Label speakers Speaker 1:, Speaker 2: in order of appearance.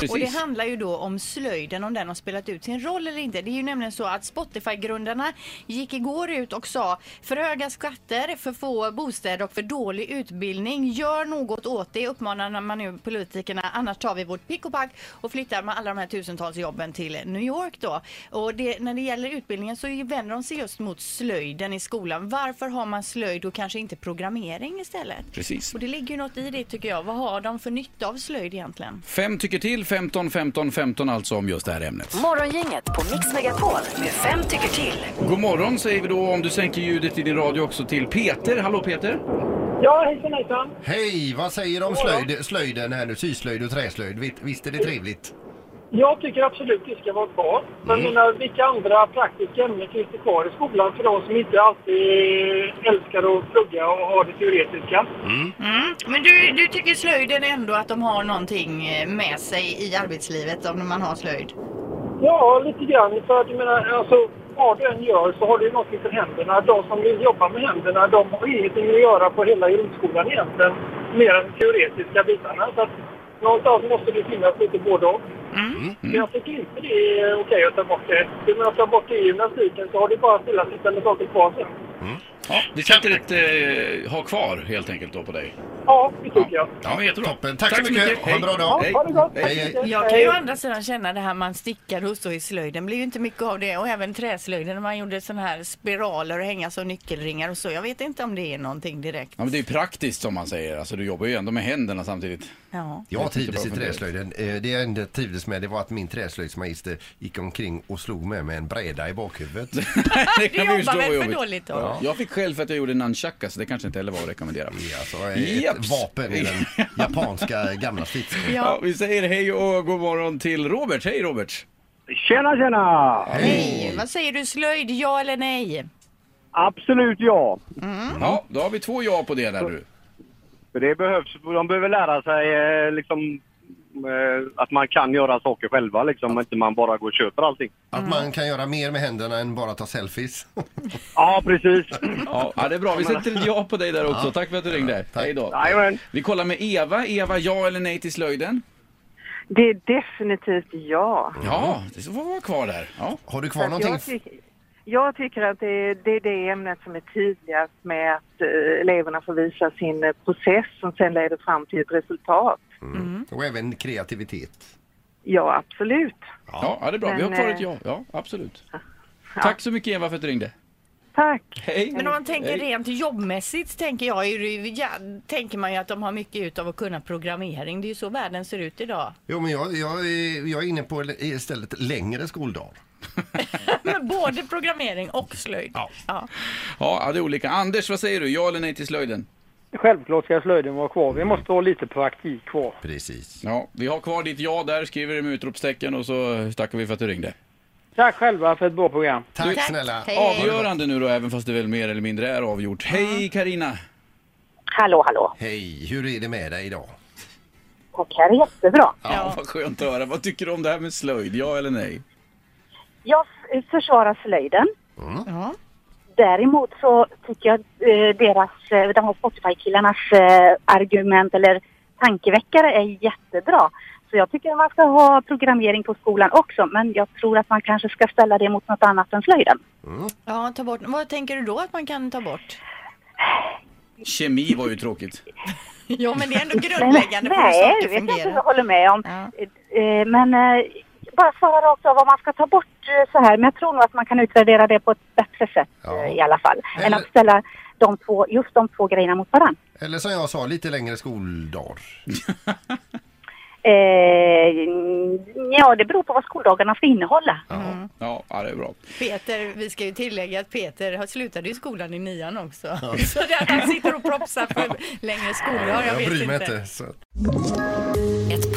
Speaker 1: Precis.
Speaker 2: Och det handlar ju då om slöjden, om den har spelat ut sin roll eller inte. Det är ju nämligen så att Spotify-grundarna gick igår ut och sa för höga skatter, för få bostäder och för dålig utbildning. Gör något åt det, uppmanar man nu politikerna. Annars tar vi vårt pick och pack och flyttar med alla de här tusentals jobben till New York då. Och det, när det gäller utbildningen så vänder de sig just mot slöjden i skolan. Varför har man slöjd och kanske inte programmering istället?
Speaker 1: Precis.
Speaker 2: Och det ligger ju något i det tycker jag. Vad har de för nytta av slöjd egentligen?
Speaker 1: Fem tycker till, 15, 15, 15 alltså om just det här ämnet.
Speaker 3: Morgongänget på Mix Megapol med fem tycker till.
Speaker 1: God morgon säger vi då om du sänker ljudet i din radio också till Peter. Hallå Peter!
Speaker 4: Ja, hejsan hejsan.
Speaker 5: Hej, vad säger du om slöjd, slöjden här nu? Syslöjd och träslöjd. Visst, visst är det trevligt?
Speaker 4: Jag tycker absolut det ska vara kvar. Men menar, vilka andra praktiska ämnen finns det kvar i skolan för de som inte alltid älskar att plugga och ha det teoretiska?
Speaker 2: Mm. Men du, du tycker slöjden ändå att de har någonting eh, med sig i arbetslivet om man har slöjd?
Speaker 4: Ja, lite grann. För att jag menar, alltså, vad du än gör så har du ju någonting för händerna. De som vill jobba med händerna, de har ingenting att göra på hela grundskolan egentligen. Mer än de teoretiska bitarna. Så att någonstans måste det finnas lite både och. Men jag tycker inte det är okej att ta bort det. Vill man ta bort det i gymnastiken så har du bara stillasittande saker kvar sen.
Speaker 1: Ja, vi sätter ett eh, ha kvar helt enkelt då på dig.
Speaker 4: Ja, det tycker jag.
Speaker 1: Ja, jättebra.
Speaker 5: Toppen, tack, så mycket. Ha en bra dag.
Speaker 1: Hej.
Speaker 4: Ha det gott!
Speaker 5: Hej, hej.
Speaker 2: Jag kan ju å andra sidan känna det här man stickar och så i slöjden blir ju inte mycket av det och även träslöjden när man gjorde sån här spiraler och hänga som nyckelringar och så. Jag vet inte om det är någonting direkt.
Speaker 1: Ja, men det är ju praktiskt som man säger. Alltså, du jobbar ju ändå med händerna samtidigt.
Speaker 2: Ja.
Speaker 1: Jag
Speaker 5: Jag
Speaker 1: tyckte
Speaker 5: trivdes
Speaker 1: det
Speaker 5: i
Speaker 1: var funderat.
Speaker 5: träslöjden. Eh, Det jag inte trivdes med det var att min träslöjdsmagister gick omkring och slog mig med en bräda i bakhuvudet.
Speaker 1: det
Speaker 2: Du
Speaker 1: vi
Speaker 2: jobbar
Speaker 1: förstå,
Speaker 2: väl för
Speaker 1: jobbigt.
Speaker 2: dåligt då?
Speaker 1: Ja. Jag fick själv för att jag gjorde nunchaka så det kanske inte heller var att rekommendera.
Speaker 5: Det är alltså eh, ett
Speaker 1: Japs.
Speaker 5: vapen i den japanska gamla stridsskolan.
Speaker 1: Ja, vi säger hej och god morgon till Robert. Hej Robert!
Speaker 6: Tjena, tjena!
Speaker 2: Nej, vad säger du slöjd, ja eller nej?
Speaker 6: Absolut ja.
Speaker 1: Ja, då har vi två ja på det där nu.
Speaker 6: För det behövs, de behöver lära sig eh, liksom, eh, att man kan göra saker själva liksom, och inte man bara går och köper allting.
Speaker 5: Att man kan göra mer med händerna än bara ta selfies.
Speaker 6: Ja, precis.
Speaker 1: Ja, ja, det är bra. Vi sätter ett ja på dig där också. Tack för att du ringde.
Speaker 5: tack.
Speaker 1: Hej då.
Speaker 6: Jajamän.
Speaker 1: Vi kollar med Eva. Eva, ja eller nej till slöjden?
Speaker 7: Det är definitivt ja.
Speaker 1: Ja, det får vara kvar där. Ja.
Speaker 5: Har du
Speaker 7: För
Speaker 5: kvar
Speaker 7: att
Speaker 5: någonting?
Speaker 7: jag, tycker- jag tycker att det, är- det är det ämnet som är tydligast med att eh, eleverna får visa sin eh, process som sen leder fram till ett resultat.
Speaker 5: Mm. Och även kreativitet.
Speaker 7: Ja, absolut.
Speaker 1: Ja, ja, det är bra. Vi har
Speaker 7: Men,
Speaker 1: kvar
Speaker 7: eh,
Speaker 1: ett ja. Ja, absolut. Tack så mycket Eva för att du ringde.
Speaker 7: Tack.
Speaker 1: Hej!
Speaker 2: Men om man tänker
Speaker 1: Hej.
Speaker 2: rent jobbmässigt tänker jag, är det ju- ja, tänker man ju att de har mycket ut av att kunna programmering. Det är ju så världen ser ut idag.
Speaker 5: Jo, men jag, jag, är- jag är inne på istället längre skoldagar.
Speaker 2: Men både programmering och slöjd. Ja.
Speaker 1: Ja, ja, det är olika. Anders, vad säger du? Ja eller nej till slöjden?
Speaker 8: Självklart ska slöjden vara kvar. Vi måste ha lite praktik kvar.
Speaker 5: Precis.
Speaker 1: Ja, vi har kvar ditt ja där, skriver det med utropstecken och så tackar vi för att du ringde.
Speaker 8: Tack själva för ett bra program.
Speaker 5: Tack,
Speaker 2: Tack.
Speaker 5: snälla.
Speaker 2: Hej.
Speaker 1: Avgörande nu då, även fast det väl mer eller mindre är avgjort. Hej Karina!
Speaker 7: Hallå, hallå.
Speaker 5: Hej, hur är det med dig idag?
Speaker 7: Tackar jättebra.
Speaker 1: Ja. vad skönt att höra. Vad tycker du om det här med slöjd? Ja eller nej?
Speaker 7: Jag f- försvarar slöjden.
Speaker 2: Ja.
Speaker 7: Däremot så tycker jag eh, deras, eh, de här Spotify-killarnas eh, argument eller tankeväckare är jättebra. Så jag tycker man ska ha programmering på skolan också men jag tror att man kanske ska ställa det mot något annat än slöjden.
Speaker 5: Mm.
Speaker 2: ja, ta bort. Vad tänker du då att man kan ta bort?
Speaker 1: Kemi var ju tråkigt.
Speaker 2: Ja, men det är ändå
Speaker 7: Men-
Speaker 2: grundläggande för hur
Speaker 7: Nej, det
Speaker 2: saker
Speaker 7: vet jag inte om
Speaker 2: fungerar.
Speaker 7: jag håller med om.
Speaker 2: Ja.
Speaker 7: Eh, eh, Men eh, bara svara rakt av vad man ska ta bort eh, så här. Men jag tror nog att man kan utvärdera det på ett bättre sätt
Speaker 5: Ja.
Speaker 7: eh, i alla fall. Än
Speaker 5: Eller-
Speaker 7: att ställa de två, just de två grejerna mot varandra.
Speaker 5: Eller som jag sa, lite längre skoldagar.
Speaker 7: Eh, ja, det beror på vad skoldagarna ska innehålla.
Speaker 1: Ja, ja det är bra.
Speaker 2: Peter, vi ska ju tillägga att Peter har slutade i skolan i nian också. Så där han sitter och propsar för längre skolor, jag,
Speaker 5: Jag
Speaker 2: vet
Speaker 5: bryr mig
Speaker 2: inte.
Speaker 5: inte. Så.
Speaker 3: Ett